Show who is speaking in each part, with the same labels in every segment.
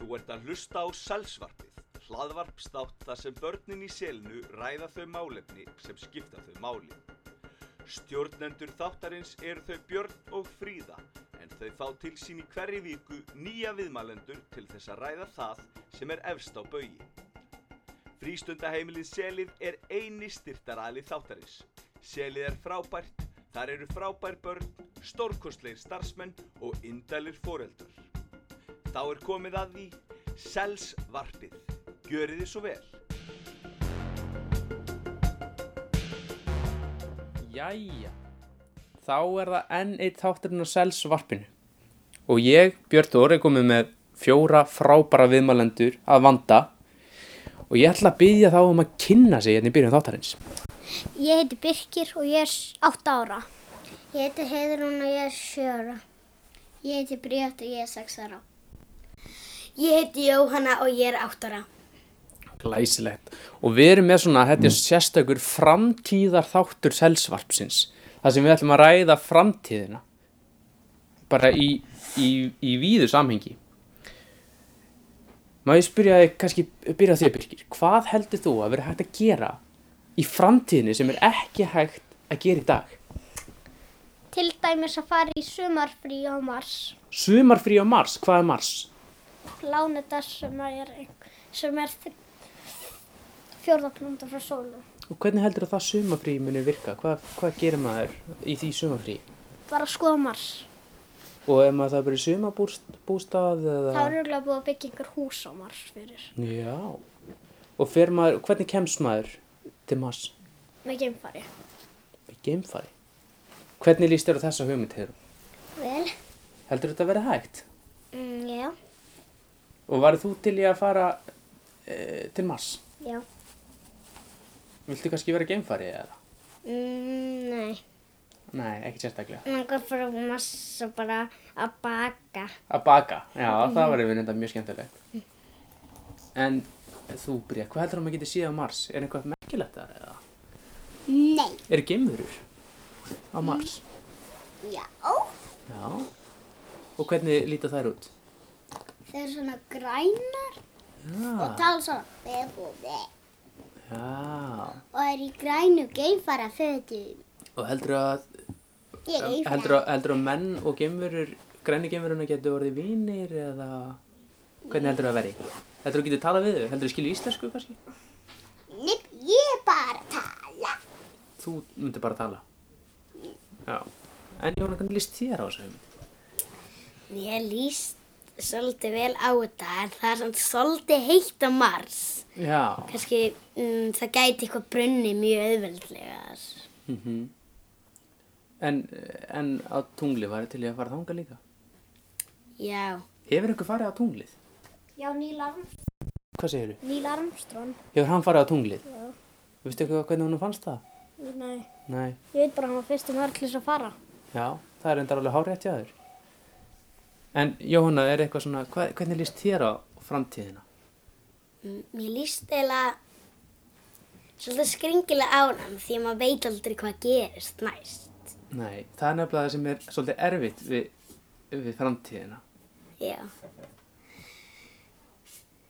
Speaker 1: Þú ert að hlusta á Sælsvarpið, hlaðvarpstátt þar sem börnin í selinu ræða þau málefni sem skipta þau máli. Stjórnendur þáttarins eru þau Björn og Fríða, en þau fá til sín í hverri viku nýja viðmælendur til þess að ræða það sem er efst á baugi. Frístundaheimilið Selið er eini styrtaræli þáttarins. Selið er frábært, þar eru frábær börn, stórkostleir starfsmenn og indælir foreldur. Þá er komið að því Selsvarpið. Gjörið þið svo vel.
Speaker 2: Jæja, þá er það enn eitt þátturinn á selsvarpinu og ég, Björn Þór, er komið með fjóra frábæra viðmælendur að vanda og ég ætla að byggja þá um að kynna sig hérna í byrjun þáttarins.
Speaker 3: Ég heiti Birkir og ég er s- átta ára. Ég heiti Heiðrún og ég er sjöra. Ég heiti Bríðat og ég er sex ára. Ég heiti Jóhanna og ég er átta ára.
Speaker 2: Glæsilegt. Og við erum með svona, þetta er sérstakur framtíðar þáttur selsvarpsins, þar sem við ætlum að ræða framtíðina, bara í, í, í víðu samhengi. Má ég spyrja þig, kannski byrja á þér Birgir, hvað heldur þú að vera hægt að gera í framtíðinni sem er ekki hægt að gera í dag?
Speaker 3: Til dæmis að fara í sumarfrí á Mars.
Speaker 2: Sumarfrí á Mars, hvað er Mars?
Speaker 3: Pláneta sem er, ein- sem er þ- fjórða pláneta frá sólu.
Speaker 2: Og hvernig heldur það sumarfrí muni virka? Hvað, hvað gerir maður í því sumarfrí?
Speaker 3: Bara að skoða Mars.
Speaker 2: Og ef maður það bara í sumarbústað eða...
Speaker 3: Það er örgulega búið að byggja einhver hús á Mars fyrir.
Speaker 2: Já. Og fer maður, hvernig kemst maður til Mars
Speaker 3: Með geimfari.
Speaker 2: í geimfari? Hvernig líst þér á þessa hugmynd hér?
Speaker 3: Vel.
Speaker 2: Heldur þetta að vera hægt?
Speaker 3: Mm, já.
Speaker 2: Og varð þú til í að fara e, til Mars?
Speaker 3: Já.
Speaker 2: Viltu kannski vera geimfari eða?
Speaker 3: Mm, nei.
Speaker 2: Nei, ekki sérstaklega.
Speaker 3: langar fyrir massa bara að baka.
Speaker 2: Að baka, já, það var yfir þetta mjög skemmtilegt. En þú, Bríða, hvað heldur að maður getur síðan á Mars? Er eitthvað merkilegt þar eða?
Speaker 3: Nei.
Speaker 2: Er geimurur á Mars?
Speaker 3: Já.
Speaker 2: Já. Og hvernig líta þær út?
Speaker 3: Þeir eru svona grænar og
Speaker 2: Já,
Speaker 3: tala svona bebúði.
Speaker 2: já.
Speaker 3: Og er í grænu geimfara fötum.
Speaker 2: Og heldur að, um,
Speaker 3: Ég er geimfara.
Speaker 2: heldur að, heldur að menn og geimverur, græni geimveruna getur orðið vinir eða hvernig heldur að veri? Heldur að getur talað við þau? Heldur að skilja íslensku kannski?
Speaker 3: Nipp, ég er bara að tala.
Speaker 2: Þú myndir bara tala. Já. En Jóna, hvernig líst þér á þessu hugmynd?
Speaker 3: Ég líst svolítið vel á þetta en það er svona svolítið heitt á Mars.
Speaker 2: Já.
Speaker 3: Kanski um, það gæti eitthvað brunni mjög auðveldlega þar.
Speaker 2: Mm en, en á tungli var til ég að fara þanga líka.
Speaker 3: Já.
Speaker 2: Hefur einhver farið á tunglið?
Speaker 3: Já, Neil, Arm
Speaker 2: Hvað segirðu?
Speaker 3: Neil Armstrong.
Speaker 2: Hefur hann farið á tunglið?
Speaker 3: Já.
Speaker 2: Vistu eitthvað hvernig hann fannst það?
Speaker 3: Nei.
Speaker 2: Nei.
Speaker 3: Ég veit bara að hann var fyrst um örglis að fara.
Speaker 2: Já, það er endar alveg hárétt hjá þér. En Jóhanna, er eitthvað svona, hva, hvernig líst þér á framtíðina?
Speaker 3: M- Mér líst eiginlega svolítið skringilega á hann því að maður veit aldrei hvað gerist næst.
Speaker 2: Nei, það er nefnilega það sem er svolítið erfitt við, við framtíðina.
Speaker 3: Já.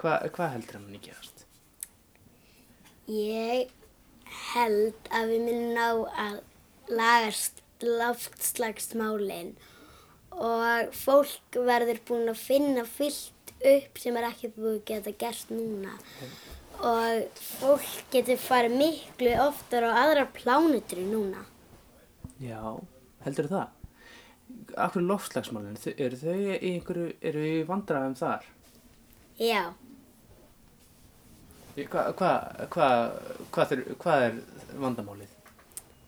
Speaker 2: Hva, hvað heldur hann að gerast?
Speaker 3: Ég held að við munum ná að lagast loftslagsmálin og fólk verður búin að finna fyllt upp sem er ekki búin að geta gert núna og fólk getur farið miklu oftar á aðra plánutur núna.
Speaker 2: Já, heldur það? Akkur loftslagsmálinn, þau- eru þau í einhverju, eru í vandræðum þar?
Speaker 3: Já,
Speaker 2: Hvað hva, hva, hva, hva þur- hvað er vandamálið?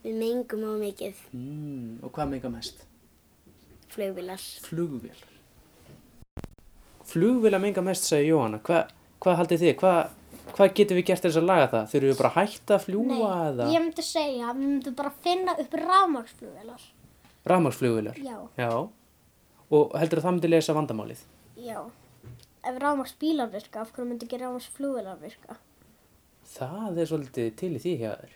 Speaker 3: við mengum á mikið
Speaker 2: Mm, og hvað meika mest?
Speaker 3: flugvilar.
Speaker 2: flugvél flugvél að menga mest sagði Jóhanna Hva, hvað haldið þið, hvað, hvað getum við gert til þess að laga það, þurfum við bara að hætta að fljúa eða
Speaker 4: ég myndi segja að við myndum bara finna upp rafmagsflugvelar.
Speaker 2: rafmagsflugvélar
Speaker 4: Já.
Speaker 2: og heldur það myndi leysa vandamálið
Speaker 4: Já. Ef rafmagsbílar virka, af hverju myndi ekki rafmagsflugvelar virka?
Speaker 2: það er svolítið til í því hjá þér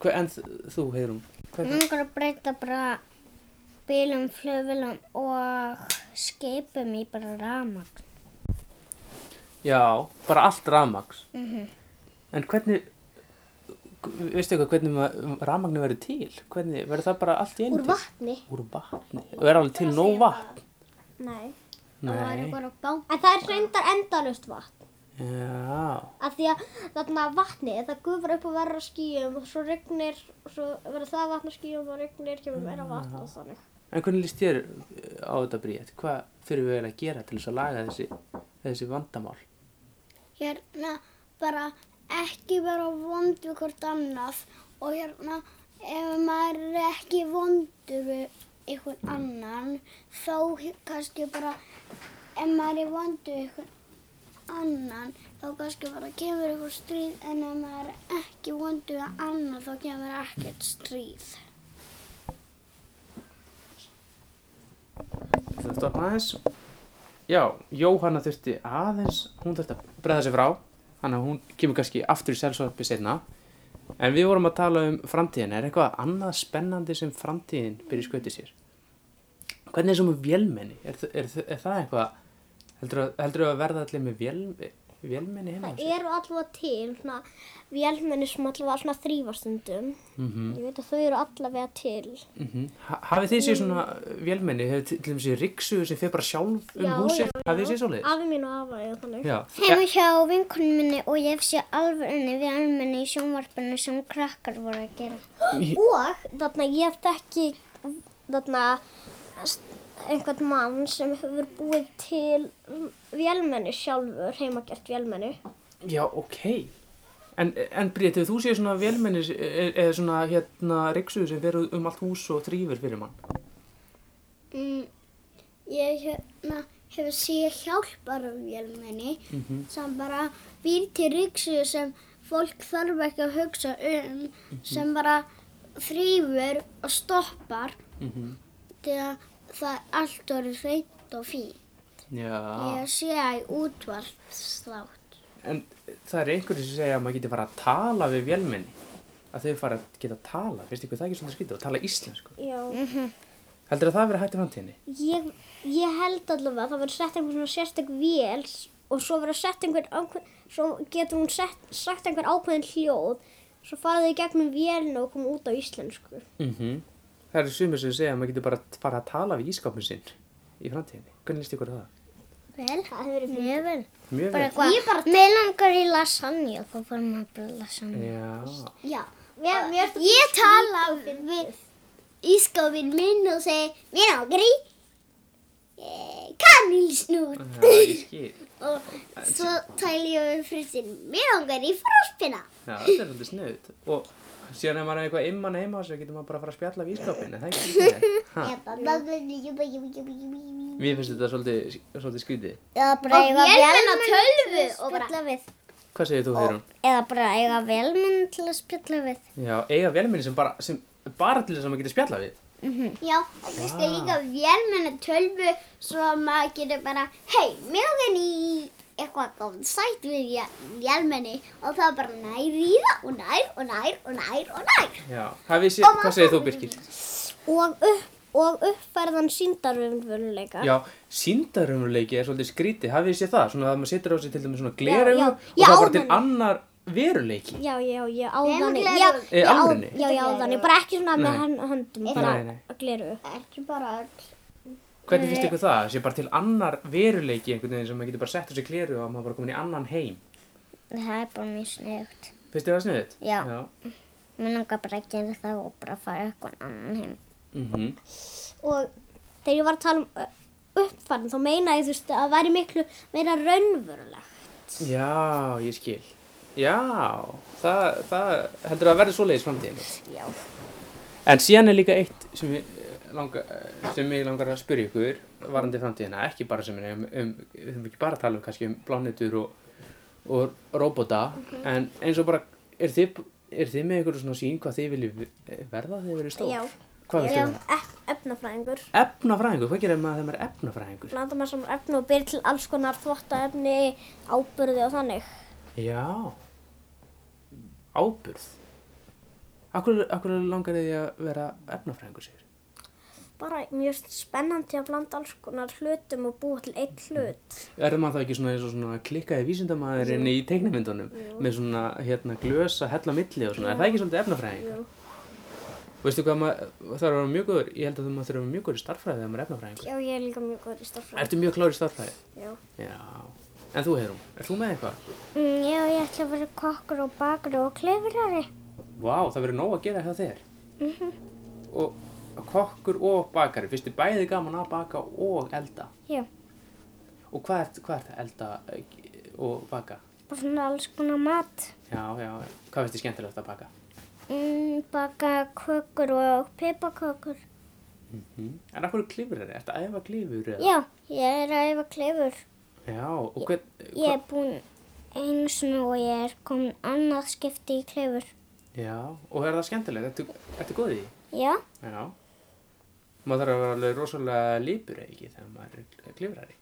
Speaker 2: Hver, en þ- þú Heiðrún
Speaker 3: Mér
Speaker 2: hvernig,
Speaker 3: langar að breyta bara bílum, flugvélum og skipum í bara ramagn.
Speaker 5: Mm-hmm.
Speaker 2: Já, bara allt rafmaks. En hvernig, veistu eitthvað, hvernig rafmagnu verður til? Hvernig, verður það bara allt í einu
Speaker 5: Úr vatni.
Speaker 2: Úr vatni. Og er alveg til nóg vatn?
Speaker 4: Nei.
Speaker 5: Það var
Speaker 2: Nei.
Speaker 5: eitthvað að banka. En það er reyndar endalust vatn.
Speaker 2: Já,
Speaker 5: Af því að þarna vatni, það gufur upp og verður að skýjum og svo regnir, svo verður það vatn að skýjum og regnir, kemur meira vatn og þannig.
Speaker 2: en hvernig líst þér á þetta bríðið? Hvað þurfum við eiginlega að gera til þess að laga þessi, þessi vandamál?
Speaker 3: hérna bara ekki vera vond við hvort annað og hérna ef maður er ekki vondur við einhvern annan þá hi- kannski bara ef maður er vondur við einhvern annan þá kannski bara kemur einhver stríð en ef maður er ekki vondur við annan þá kemur ekkert stríð.
Speaker 2: Þetta var aðeins Já, Jóhanna þurfti aðeins hún þurfti að breða sig frá þannig að hún kemur kannski aftur í selsvarpi setna en við vorum að tala um framtíðin er eitthvað annað spennandi sem framtíðin byrja skautið sér Hvernig er sem með vélmenni? Er, þa- er, þa- er það eitthvað heldur að, heldur að verða allir með vél, vélmenni heima?
Speaker 5: Það eru allavega til, svona, vélmenni sem allavega svona þrýfastundum. Mm -hmm. Ég veit að þau eru allavega til.
Speaker 2: Mm ha, Hafið þið séð svona vélmenni? Hefur til til dæmis séð riksu sem fer bara sjálf um
Speaker 5: Já,
Speaker 2: húsið?
Speaker 5: já,
Speaker 2: Hafið þið séð svoleiðis?
Speaker 5: Afi mín og afa, já, þannig.
Speaker 2: Já,
Speaker 3: Heima hjá vinkunum minni og ég hef sé alvörunni við almenni í sjónvarpinu sem krakkar voru að gera.
Speaker 5: Og þarna ég þekki þarna st- einhvern mann sem hefur búið til vélmenni sjálfur, heimagert vélmenni.
Speaker 2: Já, ok. En, en Bríðið, hefur þú séð svona vélmennis e- eða svona hérna riksuðu sem veru um allt hús og þrýfur fyrir mann?
Speaker 3: Mm, ég hérna, hefur séð hjálparvélmenni sem bara býr til ryksu sem fólk þarf ekki að hugsa um sem bara þrýfur og stoppar
Speaker 2: Mm -hmm.
Speaker 3: þegar það er allt orðið hreint og fín.
Speaker 2: Já.
Speaker 3: Ég sé það í útvarpslátt.
Speaker 2: En það er einhverju sem segja að maður geti fara að tala við vélmenni. Að þau fara að geta að tala, veistu hvað það er ekki svona skrítið, og tala íslensku.
Speaker 5: Já.
Speaker 2: Heldur að það verið hægt í framtíðinni?
Speaker 5: Ég, ég held allavega að það verður sett einhver svona sérstök vél og svo verður sett einhver ákveð, svo getur hún sett, sagt einhver ákveðin hljóð svo fara þau í gegnum vélina og koma út á íslensku.
Speaker 2: Mm Það eru sumir sem segja að maður geti bara að fara að tala við ískapin sinn í framtíðinni. Hvernig líst ykkur á það?
Speaker 3: Vel,
Speaker 5: Það hefur verið
Speaker 3: mjög vel.
Speaker 2: Mjög
Speaker 3: Bara
Speaker 2: vel.
Speaker 3: eitthvað, með langar í lasagna, þá fór maður bara lasagna.
Speaker 2: Eh. Já.
Speaker 5: Já. Mér, mér,
Speaker 3: Ég tala við ískapin minn og segi, mér ágri kanilsnút
Speaker 2: Já, ég skil.
Speaker 3: og svo tæli ég við frustin, mér ágri í frospina.
Speaker 2: Já, þetta er svolítið snuðt og síðan ef maður er eitthvað imman heima á sig getur maður bara að fara að spjalla við ískapin en það er ekki skrítið. Ha,
Speaker 3: Eða
Speaker 2: Mér finnst þetta svolítið, svolítið skrítið.
Speaker 3: bara eiga velmenn
Speaker 5: vélmenni
Speaker 3: tölvu
Speaker 5: til að
Speaker 3: og bara,
Speaker 5: spjalla við.
Speaker 2: Hvað segir þú, Heyrún?
Speaker 3: eða bara eiga velmenn til að spjalla við.
Speaker 2: Já, eiga velminni sem bara, sem bara til þess að maður getur spjallað við.
Speaker 3: Já, og kannski
Speaker 2: Ah.
Speaker 3: líka vélmenni tölvu svo að maður getur bara, hei, mjögin í eitthvað góð sætt við vélmenni og það bara nær í það og nær og nær og nær og nær.
Speaker 2: Já, hafið sér, hvað segir þú, Birkir?
Speaker 5: og, upp, og uppfærðan síndarumvöluleika.
Speaker 2: Já, síndarumurleiki er svolítið skrítið, hafið sér það, svona að maður setur á sig til dæmis svona gleraugu
Speaker 5: já.
Speaker 2: og
Speaker 5: Já,
Speaker 2: það er bara til
Speaker 5: áðan.
Speaker 2: annar veruleiki.
Speaker 5: Já, já, já, áðan
Speaker 3: Nema
Speaker 5: Já,
Speaker 3: gleraugun.
Speaker 5: já,
Speaker 2: Eh,
Speaker 5: já,
Speaker 2: alvörunni?
Speaker 5: já, já, áðan Bara ekki svona
Speaker 2: Nei.
Speaker 5: með hand- höndum bara
Speaker 2: Nei, nei.
Speaker 5: að gleru
Speaker 3: Ekki bara öll.
Speaker 2: Hvernig finnst ykkur það? Sér bara til annar veruleiki einhvern veginn sem maður getur bara sett á sig gleru og maður bara komin í annan heim.
Speaker 3: Það er bara mjög sniðugt.
Speaker 2: Finnst þér það sniðið?
Speaker 3: Já.
Speaker 2: Já.
Speaker 3: Mér langar bara að gera það og bara fara eitthvað annan heim.
Speaker 2: Mhm.
Speaker 5: Og þegar ég var að tala um uppfærðan þá meina ég þú veist að það væri miklu meira raunvöruleg
Speaker 2: Já, ég skil. Já, það, það heldur að verði svoleiðis framtíðinu.
Speaker 5: Já
Speaker 2: En síðan er líka eitt sem ég eh, langa, eh, sem ég langar að spyrja ykkur varandi framtíðina, ekki bara sem er um, um, við þurfum ekki bara að tala um kannski um plánetur og, og robota,
Speaker 5: Mhm.
Speaker 2: en eins og bara, er þið, er þið með ykkur svona sín hvað þið viljið eh, verða þegar þið verið stór?
Speaker 5: Já.
Speaker 2: Hvað um
Speaker 5: Ég
Speaker 2: viljið
Speaker 5: er
Speaker 2: verða?
Speaker 5: ef- efnafræðingur
Speaker 2: Efnafræðingur, hvað gerir maður þegar maður er efnafræðingur?
Speaker 5: Blanda maður saman efni og byrja til alls konar þvottaefni, áburði og þannig
Speaker 2: Já Áburð Akkur, akkur langar þið að vera efnafræðingur sér?
Speaker 4: bara mjög spennandi að blanda alls konar hlutum og búa til einn hlut.
Speaker 2: Er maður það ekki svona, eins og svona klikkaði vísindamæðurinn í teiknumyndunum með svona hérna, glösa hella milli og svona, er það ekki svolítið efnafræðing?
Speaker 4: Jú.
Speaker 2: Veistu hvað maður, það er að vera mjög góður, ég held að þú maður þurfa að vera mjög góður í starffræði þegar maður er efnafræðingur.
Speaker 4: Já, ég er líka mjög góð í stafræði.
Speaker 2: Ertu mjög klár í starffræði?
Speaker 4: Já.
Speaker 2: Já. En þú Heiðrún, er þú með eitthvað?
Speaker 5: Mm, já, ég ætla að vera kokkur og bakur og klefurari.
Speaker 2: Vá, það verður nóg að gera hjá þér.
Speaker 5: Mhm.
Speaker 2: Og kokkur og bakari, finnst þið bæði gaman að baka og elda?
Speaker 5: Já.
Speaker 2: Og hvað ert, hvað ert að elda eh, og baka?
Speaker 5: Bara svona alls konar mat.
Speaker 2: Já, já, hvað finnst þið skemmtilegt að baka?
Speaker 5: Mm, baka kökur og pipakökur.
Speaker 2: En af hverju klifur er þetta? Æfa klifur eða?
Speaker 5: Já, ég er að yfa klefur.
Speaker 2: Já, og hvern, eh,
Speaker 5: Ég er búin einu sinni og ég er komin annað skipti í klefur.
Speaker 2: já, og er það skemmtilegt? Ertu, ertu góð í? því?
Speaker 5: Já,
Speaker 2: Já. Maður þarf að vera alveg rosalega lípur eða ekki þegar maður er klifrari.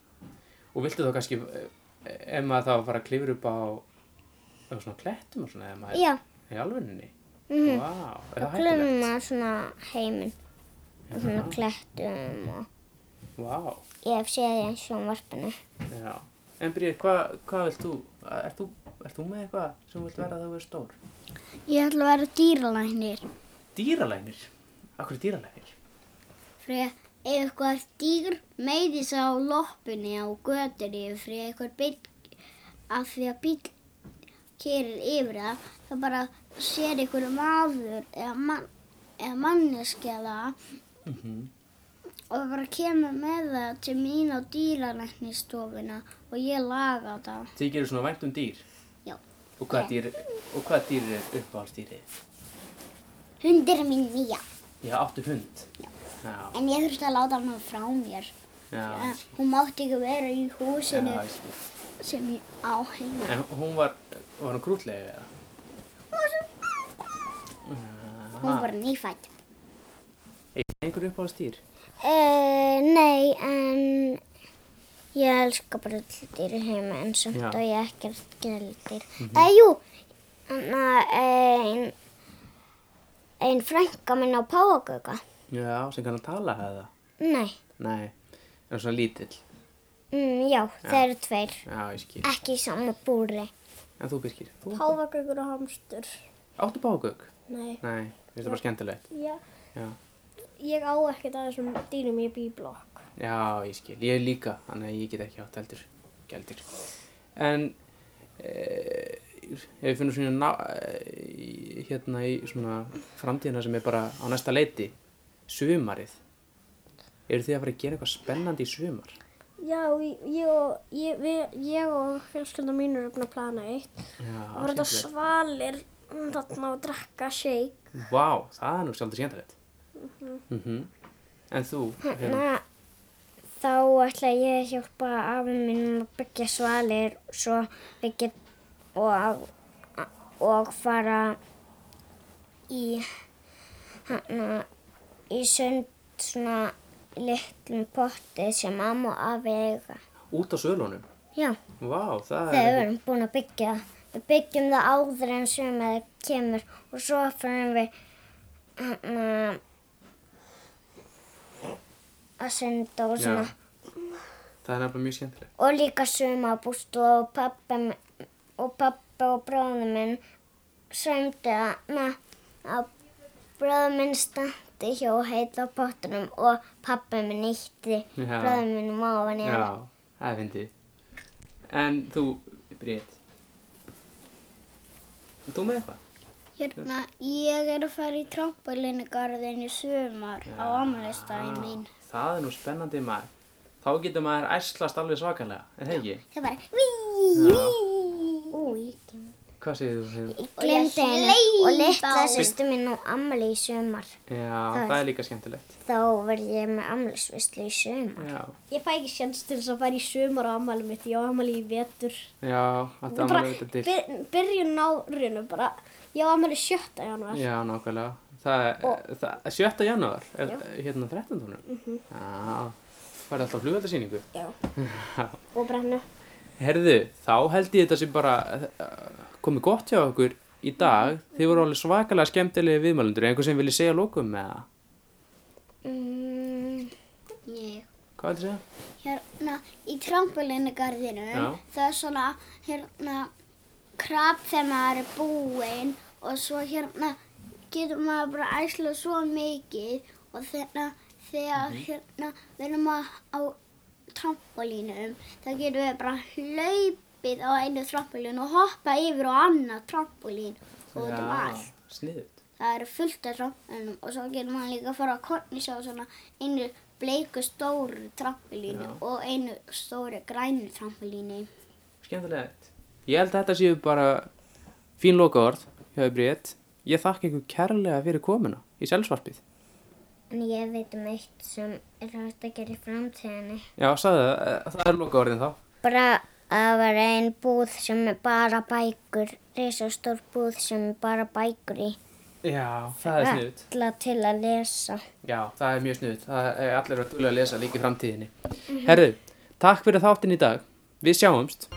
Speaker 2: Og viltu þá kannski, eh, ef maður þá að fara að klifra upp á, á svona klettum og svona, ef maður
Speaker 5: já.
Speaker 2: er í alvöninni? Vá,
Speaker 5: Mhm.
Speaker 2: er það
Speaker 5: Glömmum
Speaker 2: hættulegt?
Speaker 5: maður svona heiminn og svona klettum og
Speaker 2: Vá,
Speaker 5: ég hef séð því eins og varpinu.
Speaker 2: já. En Bríð, hvað hva vilt þú, er þú, er þú með eitthvað sem þú vilt vera þegar þú er stór?
Speaker 3: Ég ætla að vera dýralæknir.
Speaker 2: Dýralæknir? Akkur er dýralæknir?
Speaker 3: Fyrir ef eitthvað dýr meiði sig á loppinni á götunni fyrir eitthvað bíl af því að bíl kerir yfir það þá bara sér einhver maður eða, mann, eða manneskjala
Speaker 2: Mm
Speaker 3: og bara kemur með það til mín á dýralæknistofuna og ég laga það.
Speaker 2: Þið gerir svona vænt um dýr?
Speaker 3: Já.
Speaker 2: Og hvað dýr, og hvað dýr er uppáhaldsdýrið?
Speaker 3: Hundir er mín nýja
Speaker 2: Ég áttu hund. Já.
Speaker 3: en ég þurfti að láta hann frá mér.
Speaker 2: Já. Já.
Speaker 3: Hún mátti ekki vera í húsinu
Speaker 2: Já, ég skil.
Speaker 3: sem ég á heima.
Speaker 2: En hún var, var hún krútlega eða?
Speaker 3: Hún var bara nýfætt.
Speaker 2: Einhver uppáhaldsdýr?
Speaker 5: Uh, nei, en ég elska bara öll dýr í heima en samt
Speaker 2: Já.
Speaker 5: og ég ekkert gældir. Mm -hmm. Jú, þannig að ein, ein frænka minn á páagöka.
Speaker 2: Já, sem kannan tala eða?
Speaker 5: Nei,
Speaker 2: Nei, en svona lítill.
Speaker 5: mm, já, þeir eru tveir.
Speaker 2: Já, ég skil.
Speaker 5: Ekki í sama búri.
Speaker 2: En þú Birkir? Þú
Speaker 4: Páfagaukur og hamstur.
Speaker 2: áttu págauk?
Speaker 4: Nei.
Speaker 2: Nei, finnst það bara skemmtilegt.
Speaker 4: Já,
Speaker 2: Já.
Speaker 4: ég á ekkert að þessum dýrum ég bý í blokk.
Speaker 2: Já, ég skil. Ég líka, þannig að ég get ekki átt heldur. Gældir. En e, ef ég finnur svona ná, eh, hérna í svona framtíðina sem er bara á næsta leiti, sumarið, eru þið að fara að gera eitthvað spennandi í sumar?
Speaker 4: Já, ég og, ég, við, ég og fjölskylda mínur er búin að plana eitt.
Speaker 2: Já,
Speaker 4: Það voru þetta
Speaker 2: skemmtilegt.
Speaker 4: svalir mm, þarna og drakka shake.
Speaker 2: Vá, það er nú svolítið skemmtilegt.
Speaker 5: Mhm.
Speaker 2: Mm En þú, hérna,
Speaker 5: Þannig að þá ætla ég að hjálpa afi minn að byggja svalir svo við get og, og fara í hana, í sund svona litlum potti sem amma og afi eiga.
Speaker 2: út á sölunum.
Speaker 5: Já,
Speaker 2: Vá, það
Speaker 5: þegar við
Speaker 2: er...
Speaker 5: erum búin að byggja það. Við byggjum það áður en sumaði kemur og svo fyrir við hérna, hana, að sunda og svona.
Speaker 2: Já, það er nefnilega mjög skemmtilegt.
Speaker 5: og líka sumabústu og pappi m- og pappi og bróður minn sömdu þarna að bróður minn standi hjá heita pottunum og pappi minn ítti
Speaker 2: Já.
Speaker 5: bróður minn um ofan í hann.
Speaker 2: Já, það er fyndið. En þú, Britt, þú með eitthvað?
Speaker 3: Hérna, ég er að fara í trampolinugarðin í sumar á ammælistaginn mín.
Speaker 2: Ah, Það er nú spennandi maður. Þá getur maður æslast alveg svakalega, er það ekki?
Speaker 3: Það bara, víi,
Speaker 5: Úi,
Speaker 2: Hvað segir þú? Heiður?
Speaker 5: ég
Speaker 3: Og ég
Speaker 5: glemdi henni og
Speaker 3: hleyp
Speaker 5: litla
Speaker 3: á-
Speaker 5: sýstu mín á ammali í sumar.
Speaker 2: Já, það er líka skemmtilegt.
Speaker 5: Þá verð ég með ammalisvislu í sumar.
Speaker 2: Já,
Speaker 4: Ég fæ ekki sjans til þess að fara í sumar á ammæli mitt. Ég á ammæli í vetur.
Speaker 2: já, þetta er
Speaker 4: Bara
Speaker 2: maður veitir til.
Speaker 4: byr, byrjun árinu bara. Ég á ammæli 7. januar.
Speaker 2: Já, nákvæmlega. Það er, það er 7. janúar, er, hérna 13. Mm -hmm. Já, það er alltaf flugöldarsýningu.
Speaker 4: Já.
Speaker 2: Já.
Speaker 4: Og brennu.
Speaker 2: Herðu, þá held ég þetta sem bara eh, komið gott hjá okkur í dag. Þið voru alveg svakalega skemmtilegi viðmælendur. Er Einhver sem vilja segja lókum með það?
Speaker 5: Mm, Ég,
Speaker 2: Hvað er það að segja?
Speaker 5: hérna, í trampolínugarðinum,
Speaker 2: Já.
Speaker 5: það er svona, hérna, krab þegar maður er búinn og svo hérna getur maður bara æsla svo mikið og þegar, þegar hérna, við erum að, á trampolínum, þá getum við bara hlaupið á einu trampolínu og hoppa yfir á annað trampolín og út um allt.
Speaker 2: sniðut.
Speaker 5: Það eru fullt af trampolinum og svo getur maður líka að fara að kornisa á svona einu bleiku stóru trampolinu
Speaker 2: Já.
Speaker 5: og einu stóru grænu trampolinu.
Speaker 2: Skemmtilegt. Ég held að þetta séu bara fín lokaord hjá Bríett. Ég þakka ykkur kærlega fyrir komuna í selsvarpið.
Speaker 6: En ég veit um eitt sem er hægt að gera í framtíðinni.
Speaker 2: Já, sagði það. eh, Það er lokaordin þá.
Speaker 6: Bara að það var ein búð sem er bara bækur, risastór búð sem er bara bækur í.
Speaker 2: Já, það er sniðut.
Speaker 6: Alla til að lesa.
Speaker 2: Já, það er mjög sniðut. Það er allir að duglega að lesa líka í framtíðinni. Herðu, takk fyrir þáttin í dag. Við sjáumst.